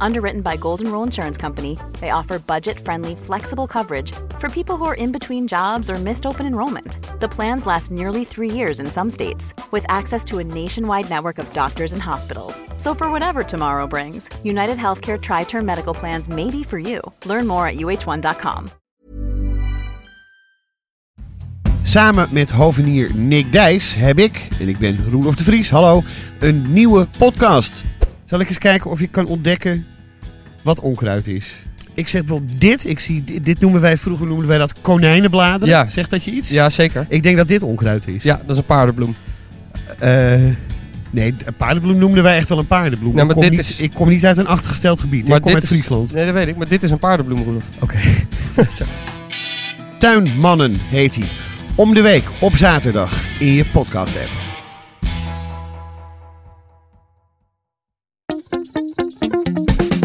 Underwritten by Golden Rule Insurance Company, they offer budget friendly, flexible coverage for people who are in between jobs or missed open enrollment. The plans last nearly three years in some states, with access to a nationwide network of doctors and hospitals. So, for whatever tomorrow brings, United Healthcare Tri Term Medical Plans may be for you. Learn more at uh1.com. Samen met hovenier Nick Dijs heb ik, en ik ben Roelof de Vries, hallo, een nieuwe podcast. Zal ik eens kijken of je kan ontdekken wat onkruid is? Ik zeg wel dit, ik zie, dit, dit noemen wij, vroeger noemden wij dat konijnenbladeren. Ja. Zegt dat je iets? Ja, zeker. Ik denk dat dit onkruid is. Ja, dat is een paardenbloem. Eh, nee, een paardenbloem noemden wij echt wel een paardenbloem. Nee, maar ik, kom dit niet, is- ik kom niet uit een achtergesteld gebied, ik kom dit uit is- Friesland. Nee, dat weet ik. Maar dit is een paardenbloem, Roelof. Oké. Zo. Tuinmannen heet hij. Om de week op zaterdag in je podcast app.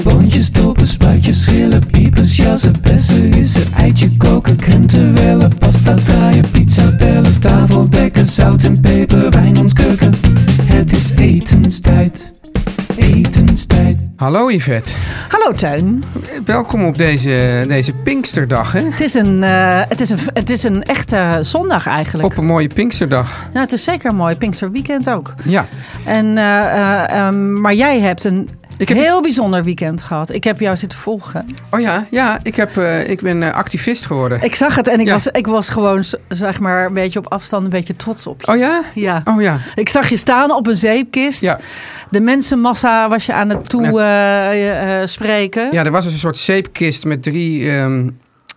Boontjes, dopen, spuitjes, schillen, piepers, jassen, bessen, rissen, eitje koken, krenten wellen, pasta draaien, pizza bellen, tafel dekken, zout en peper, wijn ontkurken. Het is etenstijd, etenstijd. Hallo Yvette, Hallo Tuin. Eh, welkom op deze, deze Pinksterdag. Hè? Het is een, eh, het is een, het is een echte zondag eigenlijk. Op een mooie Pinksterdag. Nou, het is zeker mooi. Pinksterweekend ook. Ja, En, eh, eh, ehm, maar jij hebt een Ik heb heel bijzonder weekend gehad. Ik heb jou zitten volgen. oh ja, ja ik, heb, eh, ik ben eh, activist geworden. Ik zag het en ik, Ja. was, ik was gewoon z- zeg maar een beetje op afstand een beetje trots op je. Oh ja? Ja. Oh ja. Ik zag je staan op een zeepkist. Ja. De mensenmassa was je aan het toe eh, eh, spreken. ja, er was dus een soort zeepkist met drie ehm,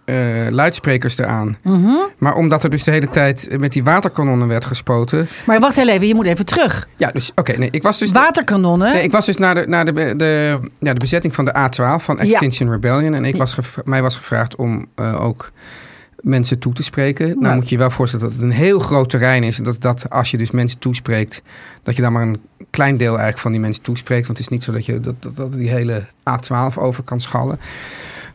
eh, luidsprekers eraan. Mhm. Maar omdat er dus de hele tijd met die waterkanonnen werd gespoten. Maar wacht heel even, je moet even terug. Ja, dus oké, nee, ik was dus. Waterkanonnen. Nee, ik was dus naar de, naar de, be- de, ja, de bezetting van de A12 van Extinction Rebellion. En ik was gev- mij was gevraagd om eh, ook mensen toe te spreken. Nou, Nou. moet je je wel voorstellen dat het een heel groot terrein is. En dat, dat als je dus mensen toespreekt, dat je dan maar een klein deel eigenlijk van die mensen toespreekt. Want het is niet zo dat je dat, dat, dat die hele A12 over kan schallen.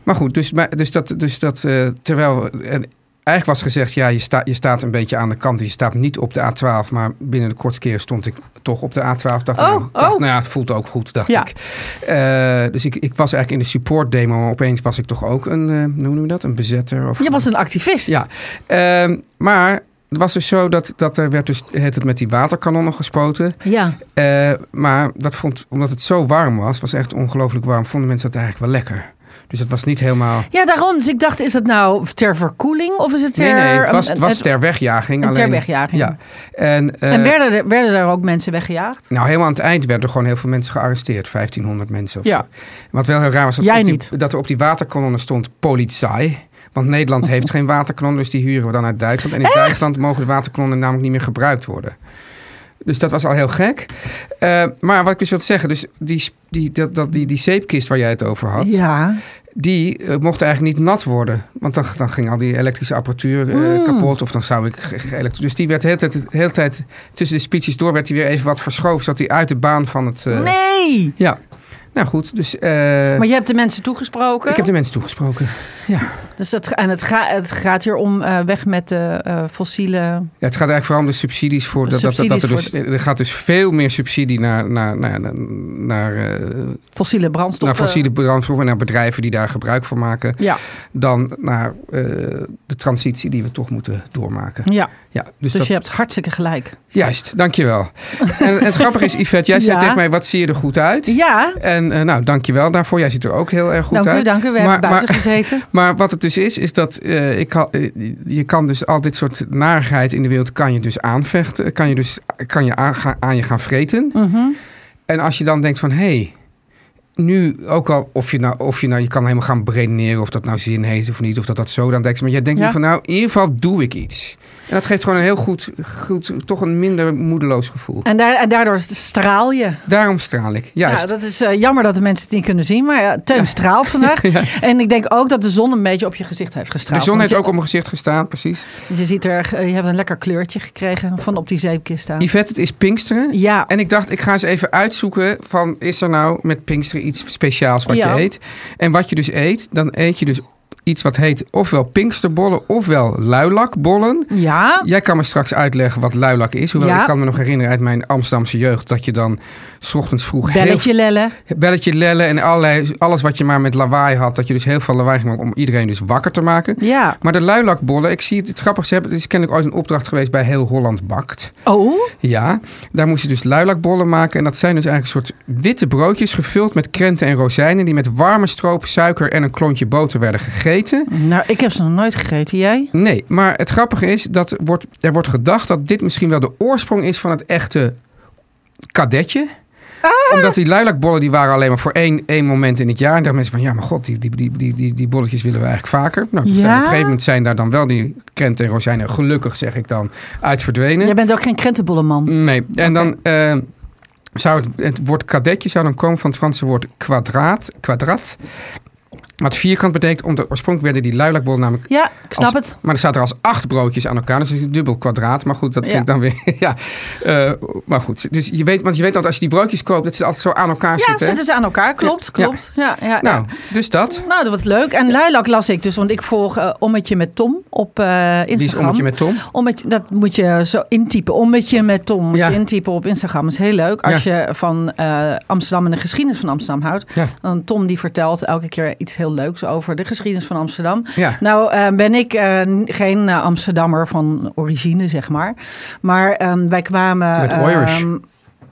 Maar goed, dus, maar- dus dat, dus dat eh, terwijl... en Eigenlijk was gezegd, ja, je, sta, je staat een beetje aan de kant. Je staat niet op de A12, maar binnen de kortste keer stond ik toch op de A12. Dacht, Oh, nou, dacht, oh. nou ja, het voelt ook goed, dacht Ja. ik. Eh, dus ik, ik was eigenlijk in de support demo, maar opeens was ik toch ook een, eh, hoe noem je dat, een bezetter? Of Je was een activist. ja, Ehm, maar het was dus zo dat, dat er werd dus het het met die waterkanonnen gespoten. ja. Eh, maar dat vond, omdat het zo warm was, was echt ongelooflijk warm, vonden mensen dat eigenlijk wel lekker. Dus het was niet helemaal. Ja, daarom. Dus ik dacht, is dat nou ter verkoeling of is het ter... um, nee, nee, het was, een- het was een- ter wegjaging. een ter alleen- wegjaging. Ja. En, eh, En werden er, werden er ook mensen weggejaagd? Nou, helemaal aan het eind werden er gewoon heel veel mensen gearresteerd. 1500 mensen of Ja. zo. Wat wel heel raar was, dat, Jij op die, niet. dat er op die waterkanonnen stond politie. Want Oh. Nederland heeft geen waterkanonnen, dus die huren we dan uit Duitsland. En in Duitsland mogen de waterkanonnen namelijk niet meer gebruikt worden. Dus dat was al heel gek. Eh, maar wat ik dus wil zeggen, dus die, sp- die, dat, dat, die, die zeepkist waar jij het over had, Ja. die eh, mocht eigenlijk niet nat worden. Want dan, dan ging al die elektrische apparatuur eh, Hmm. kapot. Of dan zou ik. ge- ge- elektro- Dus die werd de hele tijd, de hele tijd tussen de speeches door, werd hij weer even wat verschoven. Zodat hij uit de baan van het. eh, Nee! Ja. Nou goed, dus. eh, Maar je hebt de mensen toegesproken. ik heb de mensen toegesproken. Ja. dus dat, en het, ga, het gaat hier om eh, weg met de eh, fossiele... Ja, het gaat eigenlijk vooral om de subsidies voor. Dat, dat, dat, dat er, Subsidies dus, er gaat dus veel meer subsidie naar, naar, naar, naar, naar, eh, Fossiele brandstoffen. naar Nou, fossiele brandstoffen en naar bedrijven die daar gebruik van maken. Ja. Dan naar eh, de transitie die we toch moeten doormaken. ja. Ja, Dus, dus dat, je hebt hartstikke gelijk. Juist, dankjewel. en het grappige is, Yvette, jij zei Ja. tegen mij, wat zie je er goed uit? Ja, En eh nou, dankjewel daarvoor. Jij ziet er ook heel erg goed dank uit. u, dank u. We hebben buiten maar, gezeten. maar wat het dus is, is dat eh, ik ha- eh, je kan dus al dit soort narigheid in de wereld kan je dus aanvechten. Kan je Mhm. dus kan je aan, gaan- aan je gaan vreten. En als je dan denkt van, hé, hey, nu ook al, of je nou, of je nou, je kan helemaal gaan beredeneren of dat nou zin heeft of niet, of dat dat zo dan dekt. Maar jij denkt Ja. nu van, nou, in ieder geval doe ik iets. En dat geeft gewoon een heel goed, goed toch een minder moedeloos gevoel. En, daar, en daardoor straal je. Daarom straal ik. Juist. Ja, dat is eh, jammer dat de mensen het niet kunnen zien. Maar ja, Teun straalt vandaag. En ik denk ook dat de zon een beetje op je gezicht heeft de gestraald. zon Want heeft ook op je, mijn gezicht gestaan, precies. Je, ziet er, eh, je hebt een lekker kleurtje gekregen van op die zeepkist staan. Yvette, het is Pinksteren. Ja, En ik dacht, ik ga eens even uitzoeken van, is er nou met Pinksteren iets speciaals wat Ja. je eet? En wat je dus eet, dan eet je dus iets wat heet ofwel Pinksterbollen ofwel luilakbollen. ja. Jij kan me straks uitleggen wat luilak is. Hoewel Oh. Ja. ik kan me nog herinneren uit mijn Amsterdamse jeugd dat je dan 's ochtends vroeg belletje lellen. heel belletje lellen en allerlei, alles wat je maar met lawaai had, dat je dus heel veel lawaai ging maken om iedereen dus wakker te maken. Ja. Maar de luilakbollen, ik zie het, het grappigste hebben, het is kennelijk ooit een opdracht geweest bij Heel Holland Bakt. Oh, Ja, daar moest je dus luilakbollen maken en dat zijn dus eigenlijk een soort witte broodjes gevuld met krenten en rozijnen die met warme stroop, suiker en een klontje boter werden gegeten. nou, ik heb ze nog nooit gegeten. Jij? Nee, maar het grappige is dat er wordt, er wordt gedacht dat dit misschien wel de oorsprong is van het echte kadetje. Omdat die luilakbollen die waren alleen maar voor één, één moment in het jaar. En dachten mensen van ja, maar god, die, die, die, die, die, die bolletjes willen we eigenlijk vaker. Nou, toen zijn Ja? op een gegeven moment zijn daar dan wel die krenten en rozijnen, gelukkig zeg ik dan, uit verdwenen. Jij bent ook geen krentenbollenman. Nee, en dan eh, zou het, het woord kadetje zou dan komen van het Franse woord kwadraat, kwadraat. Wat vierkant betekent, omdat oorspronkelijk werden die luilakbollen namelijk Ja, ik snap als- het. Maar er zaten er als acht broodjes aan elkaar. Dus het is een dubbel kwadraat. Maar goed, dat vind Ja. ik dan weer. ja. Eh, maar goed, dus je weet, want je weet dat als je die broodjes koopt, dat ze altijd zo aan elkaar Ja, zitten. hè? zitten ze aan elkaar. Klopt, Ja. klopt. Ja, ja, ja. Nou, dus dat. Nou, dat wordt leuk. En Luilak las ik dus, want ik volg eh, Ommetje met Tom op eh, Instagram. Die is ommetje met Tom. Ommetje- dat moet je zo intypen. Ommetje met Tom moet Ja. je intypen op Instagram. is heel leuk. Als je van eh, Amsterdam en de geschiedenis van Amsterdam houdt. Ja. Dan Tom die vertelt elke keer iets heel leuks over de geschiedenis van Amsterdam. Ja. Nou eh, ben ik eh, geen eh, Amsterdammer van origine, zeg maar. Maar ehm, wij kwamen... Je bent Irish. ehm,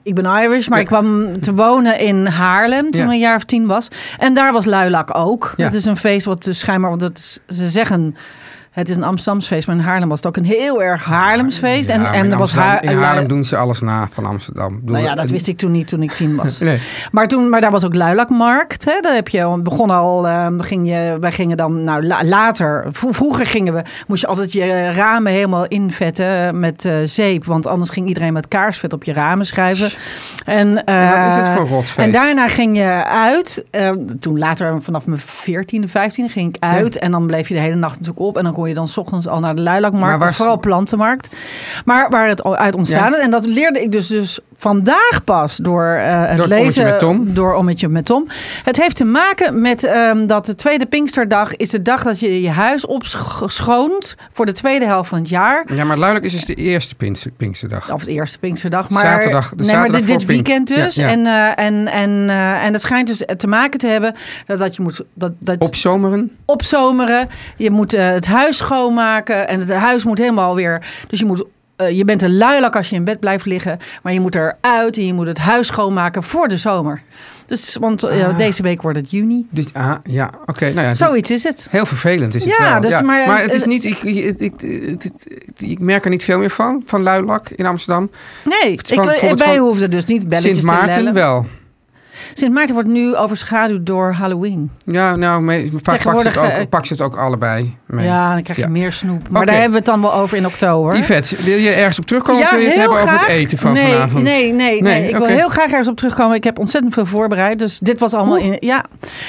ik ben Irish, maar Ja. ik kwam te wonen in Haarlem toen Ja. ik een jaar of tien was. En daar was Luilak ook. Ja. Dat is een feest wat dus schijnbaar, want dat is- ze zeggen het is een Amsterdams feest, maar in Haarlem was het ook een heel erg Haarlems feest. Ja, en maar en in, er was Amsterdam- Haar- in Haarlem doen ze alles na van Amsterdam. Ik bedoel, nou ja, dat eh, wist ik toen niet, toen ik tien was. Nee. maar, toen, maar daar was ook Luilakmarkt. Hè? Daar heb je, begon al, ehm, ging je, wij gingen dan, nou la- later, vro- vroeger gingen we, moest je altijd je ramen helemaal invetten met eh, zeep. Want anders ging iedereen met kaarsvet op je ramen schrijven. En, En wat is eh, het voor rotfeest? En daarna ging je uit. eh, toen later, vanaf mijn 14e, 15e, ging ik uit. En dan bleef je de hele nacht natuurlijk op. En dan kon je dan 's ochtends al naar de Luilakmarkt. Maar waar was vooral plantenmarkt. Maar waar het al uit ontstaan is. En dat leerde ik dus, dus vandaag pas door eh, het Door het ommetje lezen. met Tom. Door Ommetje met Tom. Het heeft te maken met ehm, dat de tweede Pinksterdag is de dag dat je je huis opschoont. Voor de tweede helft van het jaar. Ja, maar luidelijk is het de eerste Pinkster- Pinksterdag. Of de eerste Pinksterdag. Maar, Zaterdag, de nee, zaterdag maar dit, voor dit Pink. weekend dus. Ja, ja. En, eh, en, en, eh, en dat schijnt dus te maken te hebben dat, dat je moet dat, dat Opzomeren. opzomeren. Je moet eh, het huis schoonmaken. En het huis moet helemaal weer... Dus je moet... eh, je bent een luilak als je in bed blijft liggen. Maar je moet eruit en je moet het huis schoonmaken voor de zomer. Dus, want eh, deze week wordt het juni. Dus, ah, ja, oké. nou ja, Zoiets is het. Heel vervelend is het Ja, wel. dus maar- het is niet... Ik, ik, ik, ik- ik merk er niet veel meer van, van luilak in Amsterdam. Nee, is gewoon ik, eh, bijvoorbeeld wij van hoefden dus niet belletjes Sint te Maarten lellen. wel. Sint Maarten wordt nu overschaduwd door Halloween. Ja, nou, me- vaak pak ze, Tegenwoordig, het ook, eh, pak ze het ook allebei mee. Ja, dan krijg je Ja. meer snoep. Maar Oké. daar hebben we het dan wel over in oktober. Yvette, wil je ergens op terugkomen of wil je het hebben over het eten van nee, vanavond? Nee, nee, nee. Nee, Ik oké. wil heel graag ergens op terugkomen. Ik heb ontzettend veel voorbereid. Dus dit was allemaal in. Ja,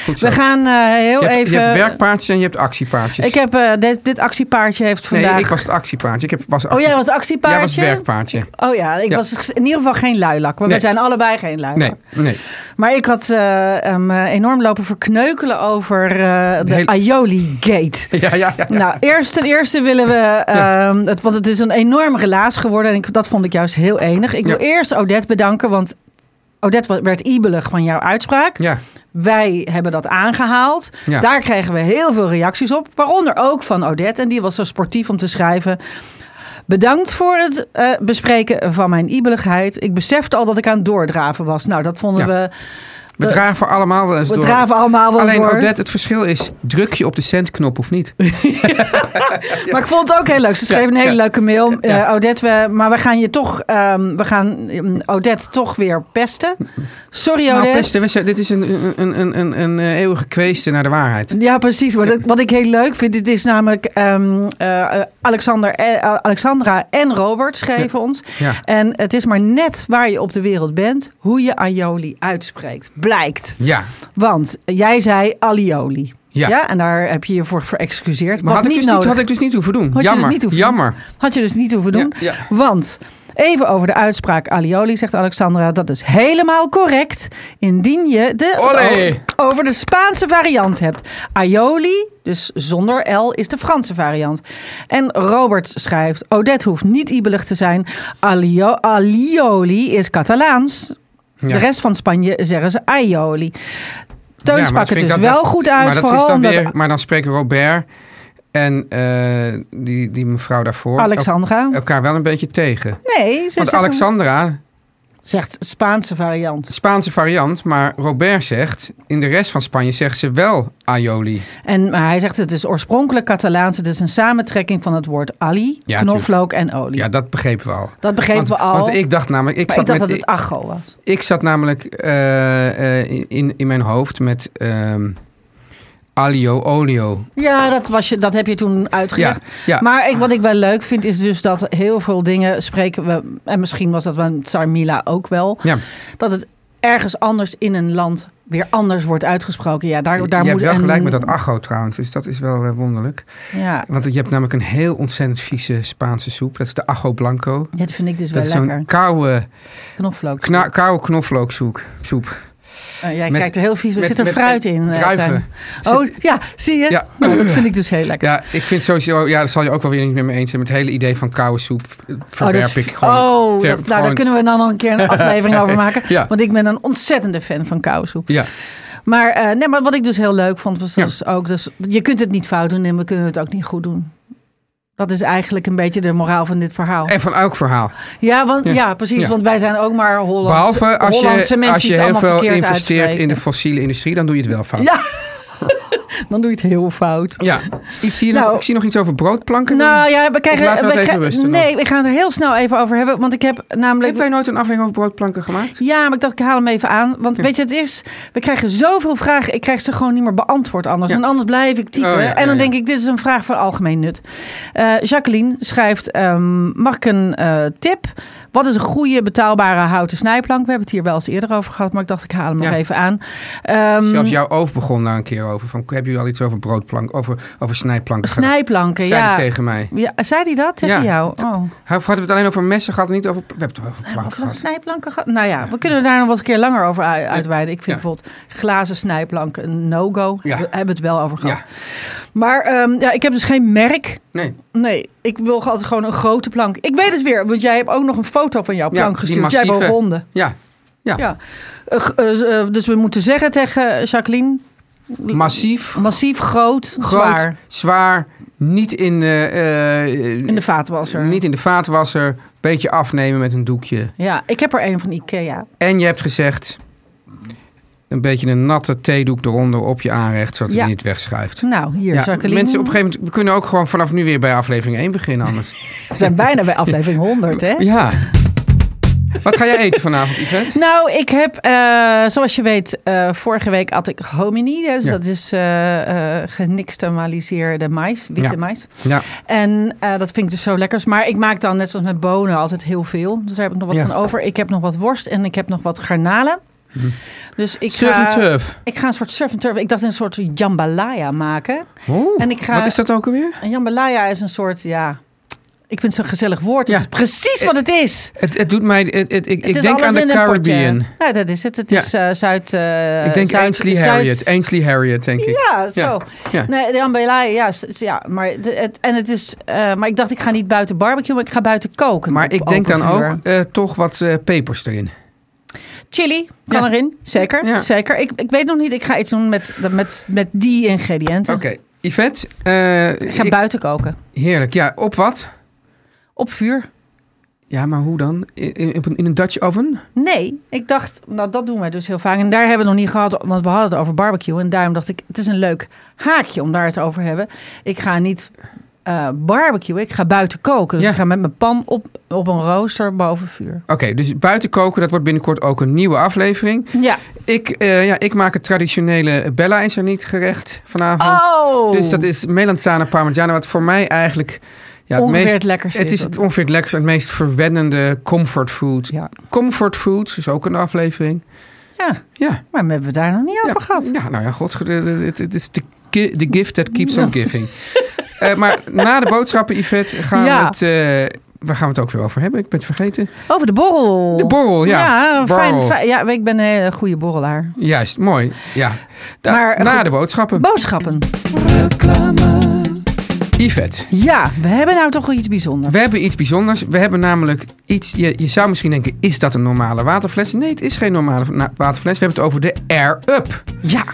Goed zo. we gaan eh, heel je, hebt, even. je hebt werkpaardjes en je hebt actiepaardjes. ik heb eh, dit, dit actiepaardje heeft nee, vandaag. ik was het actiepaardje. Ik heb, was Oh, actie- jij was het actiepaardje? Jij was het werkpaardje. Oh ja, ik Ja. was in ieder geval geen luilak. Want Nee. we zijn allebei geen luilak. Nee, nee. Maar ik had eh, hem eh, enorm lopen verkneukelen over eh, de hele- Aioli Gate. Ja, ja, ja. ja. Nou, eerst ten eerste willen we, ehm, het, want het is een enorm relaas geworden en ik, dat vond ik juist heel enig. Ik wil Ja. eerst Odette bedanken, want Odette wa- werd ibelig van jouw uitspraak. ja. Wij hebben dat aangehaald. Ja. Daar kregen we heel veel reacties op, waaronder ook van Odette en die was zo sportief om te schrijven. Bedankt voor het eh, bespreken van mijn ibeligheid. Ik besefte al dat ik aan het doordraven was. Nou, dat vonden Ja. we We We- draven allemaal wel eens We door. draven allemaal wel Alleen door. Nou, Odette, het verschil is, druk je op de centknop of niet? Maar ik vond het ook heel leuk. Ze schreef Ja, een hele ja. leuke mail. Eh Ja. Odette, we, maar we gaan je toch, ehm, we gaan ehm, Odette toch weer pesten. Sorry Odette. Nou, pesten, we zijn- dit is een, een, een, een, een eh, eeuwige kweeste naar de waarheid. Ja, precies. Maar dat- wat ik heel leuk vind, dit is namelijk ehm, eh, Alexander en- eh, Alexandra en Robert schreven ons. Ja. En het is maar net waar je op de wereld bent, hoe je aioli uitspreekt. Blijkt. Ja, Want jij zei alioli. Ja. en daar heb je je voor verexcuseerd. maar Was had ik, niet dus nodig. niet, had ik dus niet hoeven doen. Had je dus jammer, niet hoeven doen. jammer. Had je dus niet hoeven doen. Ja, Want even over de uitspraak alioli, zegt Alexandra. Dat is helemaal correct. Indien je de Olé. o- over de Spaanse variant hebt. Aioli, dus zonder L, is de Franse variant. En Robert schrijft, Odette hoeft niet ibelig te zijn. Alio- alioli is Catalaans. Ja. De rest van Spanje zeggen ze aioli. Teun Ja, maar dat sprak het vind dus ik wel dan- goed uit. Maar, dat vooral is dan omdat weer, maar dan spreken Robert en eh, die, die mevrouw daarvoor Alexandra. el- elkaar wel een beetje tegen. Nee, ze Want zeggen- Alexandra, zegt Spaanse variant. Spaanse variant, maar Robert zegt... in de rest van Spanje zegt ze wel aioli. En maar hij zegt het is oorspronkelijk Catalaans. Het is een samentrekking van het woord ali, Ja, knoflook en olie. Ja, dat begrepen we al. dat begrepen want, we al. Want ik dacht namelijk... Ik maar zat ik dacht met, dat het acho was. Ik zat namelijk eh, eh, in, in mijn hoofd met ehm alio olio. Ja, dat, was je, dat heb je toen uitgelegd. Ja, ja. Maar ik, wat ik wel leuk vind is dus dat heel veel dingen spreken we... en misschien was dat bij Tsarmila ook wel... Ja, dat het ergens anders in een land weer anders wordt uitgesproken. Ja, daar, daar je moet hebt wel een- gelijk met dat acho trouwens, dus dat is wel eh, wonderlijk. Ja, Want je hebt namelijk een heel ontzettend vieze Spaanse soep. Dat is de ajo blanco. dit vind ik dus Dat wel is lekker. zo'n koude, Knoflook. kna, koude knoflooksoep. Soep. Eh, jij met- kijkt er heel vies. Er met- zit er met- fruit in. eh, Tuin. Druiven. Oh, ja, zie je? Ja. Nou, dat vind ik dus heel lekker. Ja, ik vind sowieso, ja, dat zal je ook wel weer niet met me eens zijn. Met het hele idee van koude soep eh, verwerp oh, dat- ik gewoon. Oh, ter- dat- nou, daar gewoon- kunnen we dan nog een keer een aflevering over maken. Ja. Want ik ben een ontzettende fan van kousoep. Ja, Maar, eh, nee, maar wat ik dus heel leuk vond, was Ja. dus ook... Dus, je kunt het niet fout doen en we kunnen het ook niet goed doen. Dat is eigenlijk een beetje de moraal van dit verhaal. en van elk verhaal. Ja, want, ja. precies. Ja. Want wij zijn ook maar Hollandse, Behalve als Hollandse je, mensen als die je het heel allemaal veel verkeerd investeert in de uitspreken. fossiele industrie, dan doe je het wel fout. Ja, dan doe je het heel fout. Ja, ik zie, nog, Nou. ik zie nog iets over broodplanken. Nou ja, we krijgen... Of laten we dat even kri- rusten nog? Nee, we gaan het er heel snel even over hebben. Want ik heb namelijk... Hebben wij nooit een aflevering over broodplanken gemaakt? Ja, maar ik dacht, ik haal hem even aan. Want weet je, het is... We krijgen zoveel vragen. Ik krijg ze gewoon niet meer beantwoord anders. Ja. En anders blijf ik typen. Oh, ja, en dan ja, ja. denk ik, dit is een vraag voor algemeen nut. Eh, Jacqueline schrijft... ehm, mag ik een eh, tip? Wat is een goede betaalbare houten snijplank? We hebben het hier wel eens eerder over gehad. Maar ik dacht, ik haal hem nog Ja. even aan. Ehm, Zelfs jouw oof begon daar een keer over. Van, hebben jullie al iets over broodplank, over, over snijplanken gedaan? snijplanken, Zei ja. die tegen mij. ja. Zei die dat Ja. tegen jou? Oh. Hadden we het alleen over messen gehad en niet over... We hebben het wel over planken Of gehad. Nou, snijplanken gehad? Nou ja, we kunnen daar nog wel eens een keer langer over ui- uitweiden. Ik vind Ja. bijvoorbeeld glazen snijplanken een no-go. Ja. We hebben het wel over gehad. Ja. Maar ehm, ja, ik heb dus geen merk. Nee, Nee, ik wil altijd gewoon een grote plank. Ik weet het weer, want jij hebt ook nog een foto van jouw Ja, plank die gestuurd. Jij hebt wel massieve. ronde. ja. Ja. Ja. Eh, g- eh, eh, dus we moeten zeggen tegen Jacqueline... Massief, Massief, groot, groot, zwaar. zwaar, niet in de, eh, In de vaatwasser. niet in de vaatwasser. Beetje afnemen met een doekje. Ja, ik heb er een van Ikea. En je hebt gezegd een beetje een natte theedoek eronder op je aanrecht, zodat Ja. hij niet wegschuift. Nou, hier, Ja, Jacqueline. mensen, op een gegeven moment, we kunnen ook gewoon vanaf nu weer bij aflevering 1 beginnen anders. We zijn bijna bij aflevering 100, hè? ja. Wat ga jij eten vanavond, Yvette? Nou, ik heb, eh, zoals je weet, eh, vorige week had ik hominide. Dus Ja. dat is eh eh geniksternaliseerde mais, witte Ja. mais. Ja, En eh, dat vind ik dus zo lekkers. Maar ik maak dan, net zoals met bonen, altijd heel veel. Dus daar heb ik nog wat Ja. Mhm. van over. Ik heb nog wat worst en ik heb nog wat garnalen. Dus ik surf and ga, turf. ik ga een soort surf and turf. Ik dacht een soort jambalaya maken. Oeh, En ik ga- Wat is dat ook alweer? Een jambalaya is een soort, ja... Ik vind het zo'n gezellig woord. Ja. Het is precies wat het is. Het, het doet mij... Het, het- ik Het ik is denk alles aan de in een potje. Caribbean. Ja, dat is het. Het Ja. is eh, Zuid... eh, ik denk Zuid- Ainsley Zuid- Harriet. Ainsley Harriet, denk ik. Ja, zo. Ja. Nee, de jambalaya, ja, s- s- ja. Maar, de- het, en het is, eh, maar ik dacht, ik ga niet buiten barbecue, maar ik ga buiten koken. Maar op ik denk open dan vuur. ook eh, toch wat eh, pepers erin. Chili kan Ja. erin, zeker. Ja. zeker. Ik, ik weet nog niet, ik ga iets doen met, met, met die ingrediënten. Oké, Yvette. eh, Ik ga ik- buiten koken. heerlijk. Ja, op wat? Op vuur. Ja, maar hoe dan? In, in, in een Dutch oven? Nee, ik dacht, nou dat doen wij dus heel vaak. En daar hebben we het nog niet gehad, want we hadden het over barbecue. En daarom dacht ik, het is een leuk haakje om daar het over te hebben. Ik ga niet eh barbecue, ik ga buiten koken. Dus Ja. ik ga met mijn pan op, op een rooster boven vuur. Oké, dus buiten koken, dat wordt binnenkort ook een nieuwe aflevering. Ja. Ik, eh, ja, ik maak het traditionele Bella is er niet gerecht vanavond. Oh! Dus dat is melanzane parmigiana, wat voor mij eigenlijk... Ja, het Ongeveer meest, het lekkerste Het is is dat. het ongeveer het lekkerste, en het meest verwennende comfort food. Ja. Comfort food is ook een aflevering. ja, Ja. maar we hebben het daar nog niet over gehad. Ja, nou ja, god, het- het het is de ki- the gift that keeps on giving. Eh, maar na de boodschappen, Yvette, gaan Ja. we het... eh, waar gaan we het ook weer over hebben? Ik ben het vergeten. Over de borrel. De borrel, ja. Fijn, Borrel. fijn. Ja, ik ben een hele goede borrelaar. Juist, mooi. Ja. Da- Maar, eh, na goed. de boodschappen. Boodschappen. Yvette, Ja, we hebben nou toch wel iets bijzonders. we hebben iets bijzonders. We hebben namelijk iets... Je, je zou misschien denken, is dat een normale waterfles? Nee, het is geen normale na- waterfles. We hebben het over de Air Up. Ja.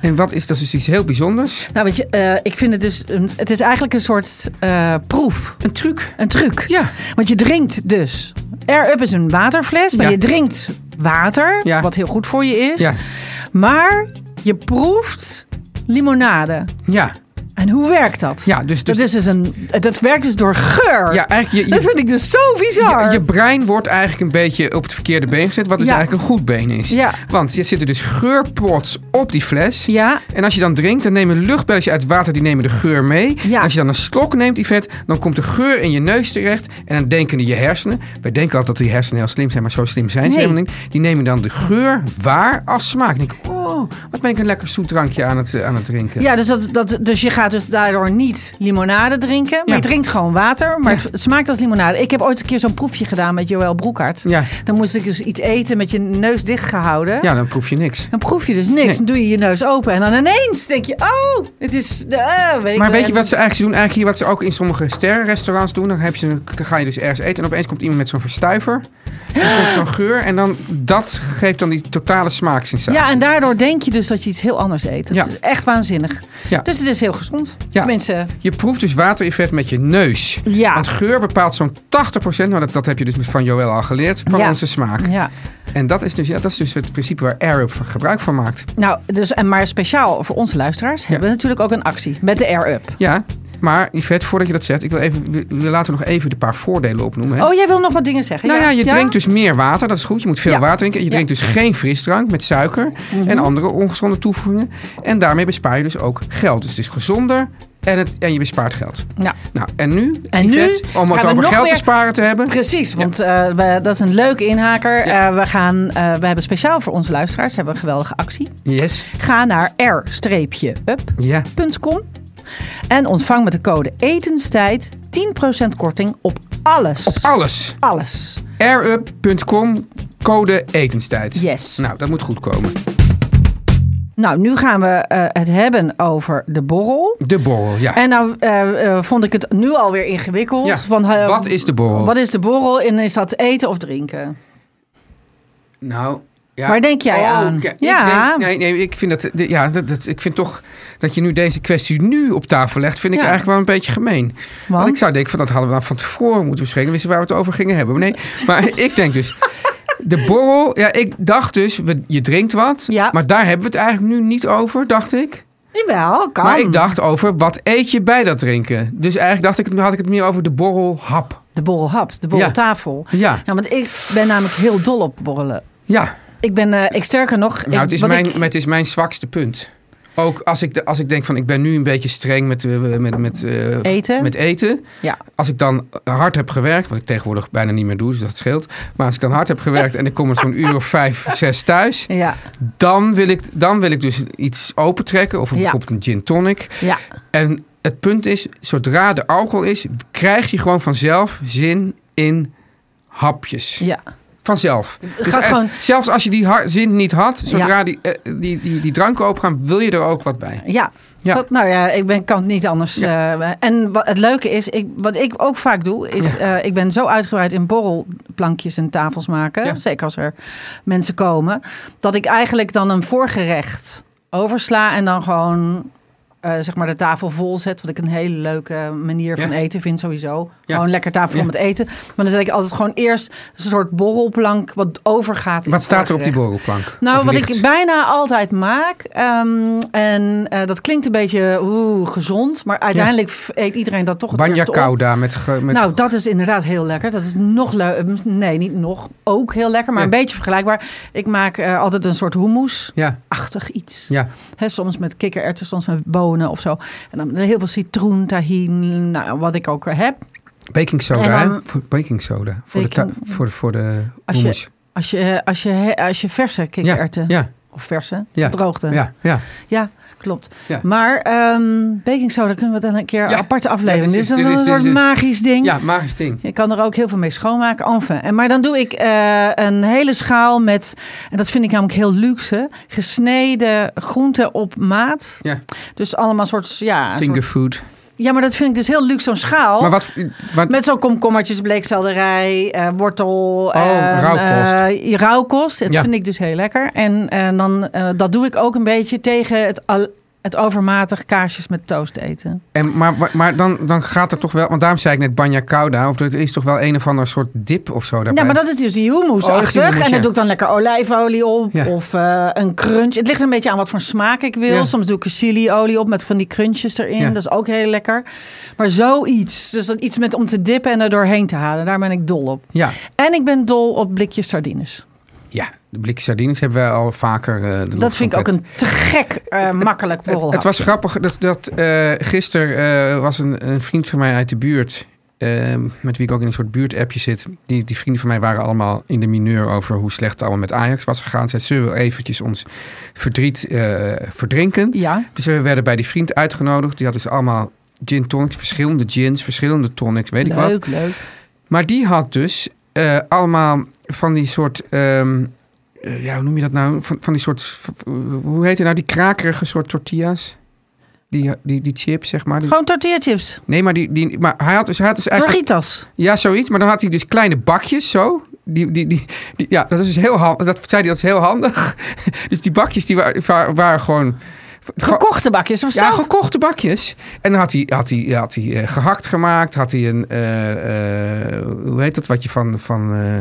En wat is dat? is iets heel bijzonders. Nou, weet je, eh, ik vind het dus... een- het is eigenlijk een soort eh, proef. Een truc. Een truc. Ja. Want je drinkt dus... Air Up is een waterfles, maar Ja. je drinkt water, Ja. wat heel goed voor je is. Ja. Maar je proeft limonade. Ja. En hoe werkt dat? Ja, dus- dus- dat, is dus een, dat werkt dus door geur. Ja, eigenlijk... Je, je, dat vind ik dus zo bizar. Je, je brein wordt eigenlijk een beetje op het verkeerde been gezet, wat dus Ja. eigenlijk een goed been is. Ja. Want je zitten dus geurpots op die fles. Ja. En als je dan drinkt, dan nemen luchtbelletjes uit water, die nemen de geur mee. Ja. En als je dan een slok neemt, Yvette, dan komt de geur in je neus terecht. En dan denken je hersenen, wij denken altijd dat die hersenen heel slim zijn, maar zo slim zijn ze Nee. helemaal niet. Die nemen dan de geur waar als smaak. En ik denk, oh, wat ben ik een lekker zoet drankje aan het, eh, aan het drinken. Ja, dus, dat, dat, dus je gaat dus daardoor niet limonade drinken. Maar Ja. je drinkt gewoon water. Maar Ja. het, het smaakt als limonade. Ik heb ooit een keer zo'n proefje gedaan met Joël Broekhart. Ja. Dan moest ik dus iets eten met je neus dichtgehouden. Ja, dan proef je niks. Dan proef je dus niks. Nee. Dan doe je je neus open. En dan ineens denk je, oh, het is... eh, weet ik Maar wel. weet je wat ze eigenlijk doen? Eigenlijk hier wat ze ook in sommige sterrenrestaurants doen. Dan, heb je, dan ga je dus ergens eten en opeens komt iemand met zo'n verstuiver. En dan komt zo'n geur. En dan, dat geeft dan die totale smaaksensatie. Ja, en daardoor denk je dus dat je iets heel anders eet. Dat Ja. is echt waanzinnig. Ja. Dus het is heel gezond. Ja. Mensen, Je proeft dus watereffect met je neus. Ja. Want geur bepaalt zo'n 80%, nou dat, dat heb je dus van Joël al geleerd, van Ja. onze smaak. ja. En dat is, dus, ja, dat is dus het principe waar Air-Up van gebruik van maakt. Nou, dus, en maar speciaal voor onze luisteraars hebben we natuurlijk ook een actie met de Air Up. Ja, maar Yvette, voordat je dat zegt, ik wil even, we- we laten nog even de paar voordelen opnoemen. Hè? Oh, jij wil nog wat dingen zeggen? Nou ja, je drinkt dus meer water, dat is goed. Je moet veel Ja. water drinken. Je Ja. Mhm. drinkt dus geen frisdrank met suiker en andere ongezonde toevoegingen. En daarmee bespaar je dus ook geld. Dus het is gezonder en, het, en je bespaart geld. Ja. Nou, en nu, En Yvette, nu om gaan het we over nog geld weer- besparen te hebben. Precies, want eh, we, dat is een leuke inhaker. Ja. Eh, we, gaan, eh, we hebben speciaal voor onze luisteraars hebben we een geweldige actie. Yes. Ga naar r-up.com Ja. en ontvang met de code etenstijd 10% korting op alles. Op alles. alles. Airup.com, code etenstijd. Yes. Nou, dat moet goed komen. Nou, nu gaan we eh, het hebben over de borrel. De borrel, ja. En nou eh, eh, vond ik het nu alweer ingewikkeld. Ja, want, eh, wat is de borrel? Wat is de borrel en is dat eten of drinken? Nou, ja. Oh, Waar denk jij aan? oké. Ja. Ik denk, nee, nee, ik vind, dat, de- ja, dat, dat- ik vind toch dat je nu deze kwestie nu op tafel legt, vind ik Ja. eigenlijk wel een beetje gemeen. Want? Want? ik zou denken, van dat hadden we dan van tevoren moeten bespreken. Dan wisten we waar we het over gingen hebben. Maar nee, maar ik denk dus... De borrel, ja, ik dacht dus, we, je drinkt wat, Ja. maar daar hebben we het eigenlijk nu niet over, dacht ik. Jawel, kan. Maar ik dacht over, wat eet je bij dat drinken? Dus eigenlijk dacht ik, het- had ik het meer over de borrelhap. De borrelhap, de borreltafel. Ja. Nou, want ik ben namelijk heel dol op borrelen. Ja, Ik ben, eh, ik sterker nog... Nou, ik- het is, wat mijn, ik- het is mijn zwakste punt. Ook als ik, de- als ik denk van ik ben nu een beetje streng met, eh, met, met, eh, Eten? met eten. ja. Als ik dan hard heb gewerkt, wat ik tegenwoordig bijna niet meer doe, dus dat scheelt. Maar als ik dan hard heb gewerkt en ik kom er zo'n uur of vijf, zes thuis. Ja. Dan wil ik, dan wil ik dus iets opentrekken. Of Ja. bijvoorbeeld een gin tonic. Ja. En het punt is, zodra de alcohol is, krijg je gewoon vanzelf zin in hapjes. Ja. Vanzelf. Dus Gaat eh, gewoon- Zelfs als je die har- zin niet had, zodra die, eh, die, die, die dranken opengaan, wil je er ook wat bij. Eh, Ja. Ja. Dat- nou ja, ik ben, kan het niet anders. eh, en wat het leuke is, ik, wat ik ook vaak doe, is eh, ik ben zo uitgebreid in borrelplankjes en tafels maken. Ja. Zeker als er mensen komen. Dat ik eigenlijk dan een voorgerecht oversla en dan gewoon eh, zeg maar de tafel vol zet. Wat ik een hele leuke manier van Ja. eten vind sowieso. Ja. Gewoon lekker tafel vol Ja. met eten. Maar dan zet ik altijd gewoon eerst een soort borrelplank wat overgaat. in Wat staat er op die voorgerecht. borrelplank? Nou, Of wat ligt? ik bijna altijd maak, ehm, en eh, dat klinkt een beetje oeh, gezond, maar uiteindelijk f- eet iedereen dat toch het Banja eerste op. Kauda met, ge- met Nou, dat is inderdaad heel lekker. Dat is nog leuk. Nee, niet nog. Ook heel lekker, maar Ja. een beetje vergelijkbaar. Ik maak eh, altijd een soort hummus. ja, Achtig iets. ja. Hè, soms met kikkererwten, soms met bonen of zo. En dan heel veel citroen, tahin, nou, wat ik ook heb. baking soda. En hè? dan- voor baking soda. Voor de, Baking- ta- voor, voor de Als je- hummus. Als je, eh, als je, he- als je verse kikkererwten, Ja, of verse, Ja. droogte. ja, ja. Ja, klopt. Ja. Maar ehm baking soda kunnen we dan een keer Ja. een aparte aflevering. Ja, dit, dit is, is- een, dit is- een dit soort is- dit- magisch ding. Ja, magisch ding. Je kan er ook heel veel mee schoonmaken. Enfin. En, maar dan doe ik eh, een hele schaal met, en dat vind ik namelijk heel luxe, gesneden groenten op maat. Ja. Dus allemaal soort, ja, een soort- Fingerfood. ja, maar dat vind ik dus heel luxe, zo'n schaal. Maar wat... wat Met zo'n komkommertjes, bleekselderij, eh, wortel. en, Oh, rauwkost. eh, rauwkost. Dat Ja. vind ik dus heel lekker. En, en dan, eh, dat doe ik ook een beetje tegen het, al- het overmatig kaasjes met toast eten. en, maar maar- maar dan, dan gaat er toch wel... Want daarom zei ik net Banja Kauda. Of er is toch wel een of ander soort dip of zo daarbij. Ja, maar dat is dus Oh, die dat is die hummus-achtig. hummus, en dan ja. doe ik dan lekker olijfolie op. Ja. Of eh, een crunch. Het ligt een beetje aan wat voor smaak ik wil. Ja. Soms doe ik er chiliolie op met van die crunches erin. Ja. Dat is ook heel lekker. Maar zoiets. Dus dat iets met om te dippen en er doorheen te halen. Daar ben ik dol op. Ja, En ik ben dol op blikjes sardines. ja. De blik sardines hebben we al vaker... eh, de Dat lof vind ik van ook Pet. een te gek eh, makkelijk borrel. Het, het was grappig dat, dat eh, gisteren eh, was een, een vriend van mij uit de buurt. eh, met wie ik ook in een soort buurtappje zit. Die, die vrienden van mij waren allemaal in de mineur over hoe slecht het allemaal met Ajax was gegaan. Zij zullen we wel eventjes ons verdriet eh, verdrinken. Ja, Dus we werden bij die vriend uitgenodigd. Die had dus allemaal gin tonics, verschillende gins, verschillende tonics, weet ik wat. leuk, leuk. Maar die had dus eh, allemaal van die soort. ehm, eh, ja, hoe noem je dat nou? Van, van die soort. v- v- Hoe heet het nou? Die krakerige soort tortillas. Die, eh, die, die chips, zeg maar. Die- Gewoon tortilla chips. nee, maar, die, die, maar hij had dus, hij had dus eigenlijk. Doritos. Ja, zoiets. Maar dan had hij dus kleine bakjes zo. Die, die, die, die- ja, dat is dus heel handig. Dat zei hij, dat is heel handig. Dus die bakjes die wa- wa- waren, gewoon. Gekochte bakjes of Ja, zo. gekochte bakjes. En dan had hij, had hij, had hij eh, gehakt gemaakt. Had hij een, eh, eh, hoe heet dat wat je van, van eh,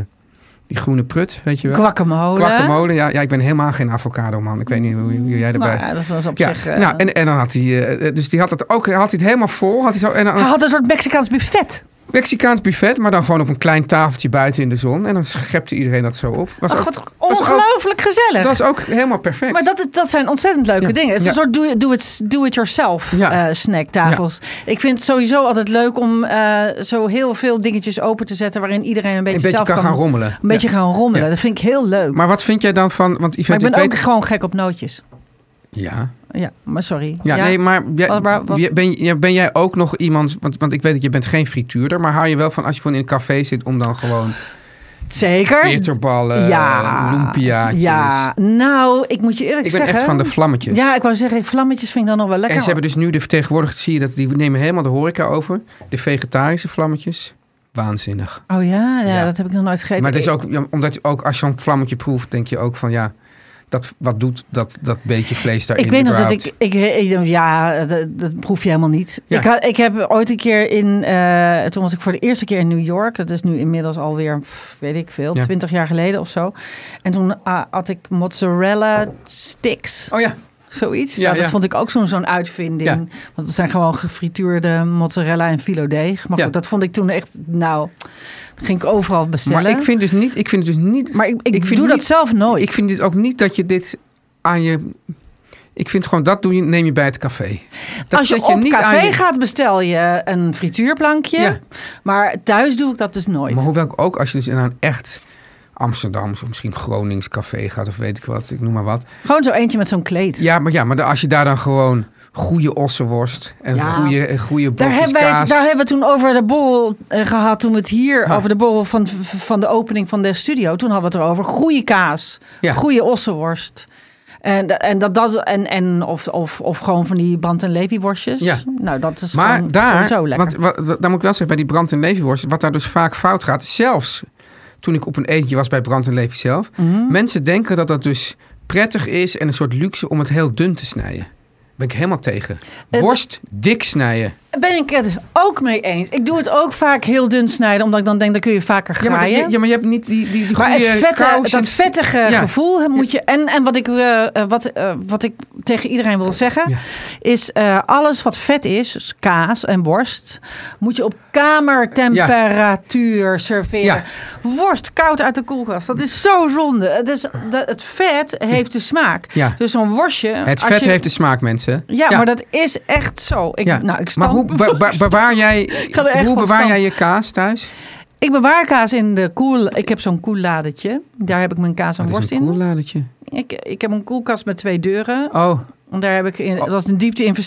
die groene prut, weet je wel? Guacamole. Guacamole, ja, ja, ik ben helemaal geen avocado man. Ik weet niet hoe, hoe jij erbij... Nou, ja, dat was op ja, zich... eh, nou, en, en dan had hij, eh, eh, dus die had het ook, had hij het helemaal vol. Had hij zo, en dan Hij een had een soort Mexicaans buffet. Mexicaans buffet, maar dan gewoon op een klein tafeltje buiten in de zon. En dan schepte iedereen dat zo op. Was Ach, ook- wat was ook- ongelooflijk Oh, gezellig. dat was ook helemaal perfect. maar dat, is- dat zijn ontzettend leuke Ja. dingen. Het is Ja. een soort do- do it- do-it-yourself do Ja. snacktafels. Ik vind het sowieso altijd leuk om eh, zo heel veel dingetjes open te zetten... waarin iedereen een beetje, een beetje zelf kan kan, gaan rommelen. Een beetje gaan rommelen. Ja. Dat vind ik heel leuk. Maar, Maar wat vind jij dan van, want Yvette, ik ben ook weet... gewoon gek op nootjes. Ja. Ja, maar sorry. Ja, nee, maar jij, Wat- waar- wat- jij- ben, jij- ben jij ook nog iemand... Want, want ik weet dat je bent geen frituurder... maar hou je wel van als je gewoon in een café zit... om dan gewoon Zeker. bitterballen, ja. lumpiaatjes... Ja, nou, ik moet je eerlijk Ik ben zeggen. echt van de vlammetjes. Ja, ik wou zeggen, vlammetjes vind ik dan nog wel lekker. en ze hebben dus nu de vertegenwoordigd... zie je dat, die nemen helemaal de horeca over. De vegetarische vlammetjes. Waanzinnig. Oh ja, ja, Ja. dat heb ik nog nooit gegeten. maar het is Ik- ook, ja, omdat je ook als je een vlammetje proeft... denk je ook van ja, dat, wat doet dat, dat beetje vlees daarin Ik weet nog dat überhaupt? ik, ik, ik- Ja, dat, dat proef je helemaal niet. Ja. Ik, had, ik heb ooit een keer in... eh, toen was ik voor de eerste keer in New York. Dat is nu inmiddels alweer, pff, weet ik veel, Ja. twintig jaar geleden of zo. En toen ah, had ik mozzarella sticks. Oh ja, Zoiets. Ja, nou, dat ja. vond ik ook zo'n zo'n uitvinding. Ja. Want het zijn gewoon gefrituurde mozzarella en filo deeg. Maar Ja. goed, dat vond ik toen echt... Nou, dat ging ik overal bestellen. maar ik vind, dus niet, ik vind het dus niet... Maar ik, ik ik vind doe dat niet- zelf nooit. Oh, Ik vind dit ook niet dat je dit aan je. Ik vind gewoon dat doe je, neem je bij het café. Dat Als je, zet op café aan je- gaat, bestel je een frituurplankje. Ja. Maar thuis doe ik dat dus nooit. Maar hoewel ik ook als je dus in een echt Amsterdams of misschien Gronings café gaat of weet ik wat, ik noem maar wat. Gewoon zo eentje met zo'n kleed. Ja, maar ja, maar als je daar dan gewoon goede ossenworst en Ja. goede en goede Daar brokjes hebben, wij het, kaas- daar hebben we het toen over de borrel eh, gehad. Toen we het hier Ja. over de borrel van, van de opening van de studio. Toen hadden we het erover. Goede kaas. Ja. Goede ossenworst. En, da- en, dat, dat, en, en of, of, of gewoon van die Brand en Levy worstjes. Ja. Nou, dat is Maar gewoon daar, sowieso lekker. want wat, wat- daar moet ik wel zeggen bij die brand en levenworst, wat daar dus vaak fout gaat, zelfs toen ik op een eentje was bij brand en levy Mhm. zelf, mensen denken dat dat dus prettig is en een soort luxe om het heel dun te snijden. ben ik helemaal Eh, tegen. Worst dik snijden. Ben ik het ook mee eens. Ik doe het ook vaak heel dun snijden, omdat ik dan denk, dan kun je vaker Ja maar, graaien. je, ja, maar je hebt niet die, die, die Maar het goede vette, kous en- dat vettige Ja. gevoel hè, moet je. En, en wat, ik, eh, eh, wat, eh, wat ik tegen iedereen wil zeggen. Ja. Is eh, alles wat vet is, dus kaas en worst. Moet je op kamertemperatuur serveren. Ja. Worst koud uit de koelkast. Dat is zo zonde. Het, is, dat, het vet heeft de smaak. Ja. Dus zo'n worstje. Het als vet je- heeft de smaak, mensen. ja, maar dat is echt zo. Ik, Ja. nou, ik maar stamp hoe mijn be- be- worst. bewaar jij, ga er echt hoe van bewaar jij stampen. je kaas thuis? Ik bewaar kaas in de koel. Ik heb zo'n koelladertje. Daar heb ik mijn kaas en Dat worst is Oh, een in. koelladertje. Ik, ik heb een koelkast met twee deuren. Oh, En Daar heb ik in, Oh. dat was een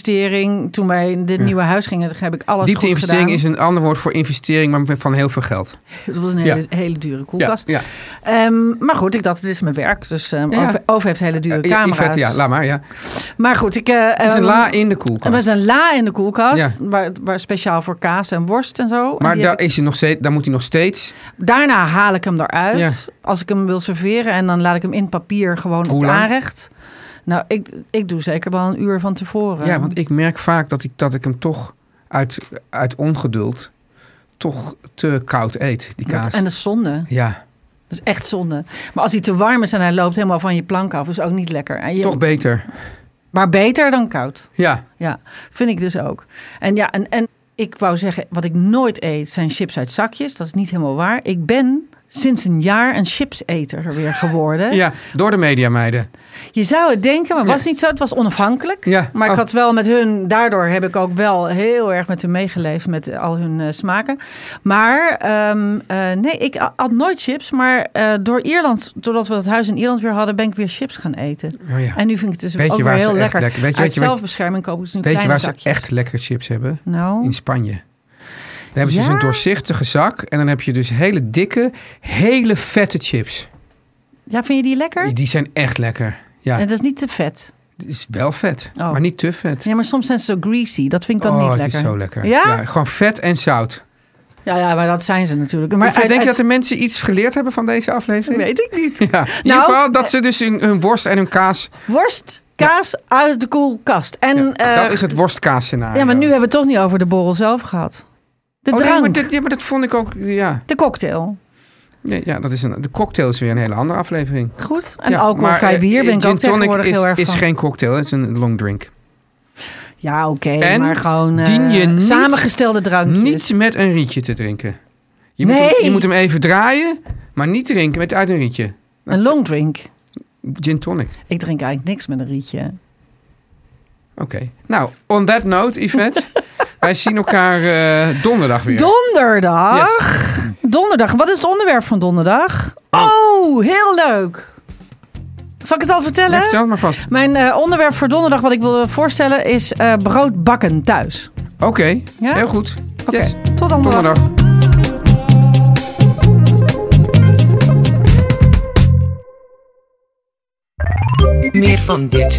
diepte-investering. Toen wij in dit nieuwe huis gingen, daar heb ik alles diepte-investering goed is gedaan. een ander woord voor investering, maar van heel veel geld. Het was een hele, hele dure koelkast. Ja, Ehm, maar goed, ik dacht, het is mijn werk. Dus ehm Ja. Over, over heeft hele dure ja. ja, camera's. Yvette, ja, laat maar. Ja. Maar goed, ik... eh, Het is een ehm, la in de koelkast. Er was een la in de koelkast, Ja. waar, waar speciaal voor kaas en worst en zo. En Maar die daar, heb ik- is hij nog steeds, daar moet hij nog steeds. daarna haal ik hem eruit, Ja. als ik hem wil serveren. En dan laat ik hem in papier gewoon op Hoe het lang? aanrecht. Nou, ik, ik doe zeker wel een uur van tevoren. Ja, want ik merk vaak dat ik, dat ik hem toch uit, uit ongeduld toch te koud eet, die Dat- kaas. En dat is zonde. Ja, Dat is echt zonde. Maar als hij te warm is en hij loopt helemaal van je plank af, is ook niet lekker. En je- toch beter. maar beter dan koud. Ja, Ja, vind ik dus ook. En ja, en, en ik wou zeggen, wat ik nooit eet zijn chips uit zakjes. Dat is niet helemaal waar. Ik ben sinds een jaar een chipseter weer geworden. ja, door de mediameiden. Je zou het denken, maar het was niet zo. Het was onafhankelijk. Ja. Maar ik Oh. had wel met hun, daardoor heb ik ook wel heel erg met hun meegeleefd met al hun eh, smaken. Maar ehm, eh, nee, ik a- had nooit chips. Maar eh, door Ierland, doordat we dat huis in Ierland weer hadden, ben ik weer chips gaan eten. Oh ja. En nu vind ik het dus Weet je ook weer waar ze heel echt lekker. lekker- weet je- Uit weet je waar- zelfbescherming koop ik dus nu Weet je kleine waar zakjes. ze echt lekkere chips hebben? Nou, In Spanje. Daar hebben ze Ja? dus een doorzichtige zak. En dan heb je dus hele dikke, hele vette chips. ja, vind je die lekker? Die zijn echt lekker. Ja, En dat is niet te vet. het is wel vet, Oh. maar niet te vet. Ja, maar soms zijn ze zo greasy. Dat vind ik dan oh, niet het lekker. is zo lekker. Ja? gewoon vet en zout. Ja, ja, maar dat zijn ze natuurlijk. Maar Maar denk uit- je uit- dat de mensen iets geleerd hebben van deze aflevering? Weet ik niet. Ja, in Nou, ieder geval eh, dat ze dus hun, hun worst en hun kaas... Worst, kaas uit de koelkast. En, Ja, dat eh, is het worstkaas scenario. ja, maar nu hebben we het toch niet over de borrel zelf gehad. De Oh, nee, drank, maar dit, ja, maar dat vond ik ook... Ja, de cocktail. Nee, ja dat is een, de cocktail is weer een hele andere aflevering. Goed. En ja, alcoholvrij maar, eh, bier ben ik gin ook tegenwoordig tonic is, heel erg is van. geen cocktail, het is een long drink. Ja, oké. En maar gewoon eh, dien je niet- samengestelde drankjes. Niet met een rietje te drinken. Je, Nee. moet hem, je moet hem even draaien, maar niet drinken met uit een rietje. Een long drink. Gin tonic. Ik drink eigenlijk niks met een rietje. Oké. Nou, on that note, Yvette. wij zien elkaar eh, donderdag weer. Donderdag. Yes. Donderdag. Wat is het onderwerp van donderdag? Oh, heel leuk. Zal ik het al vertellen? Leg het maar vast. Mijn eh, onderwerp voor donderdag, wat ik wilde voorstellen, is eh, brood bakken thuis. Oké, Ja? heel goed. Oké, Yes, tot dan. donderdag. Meer van dit.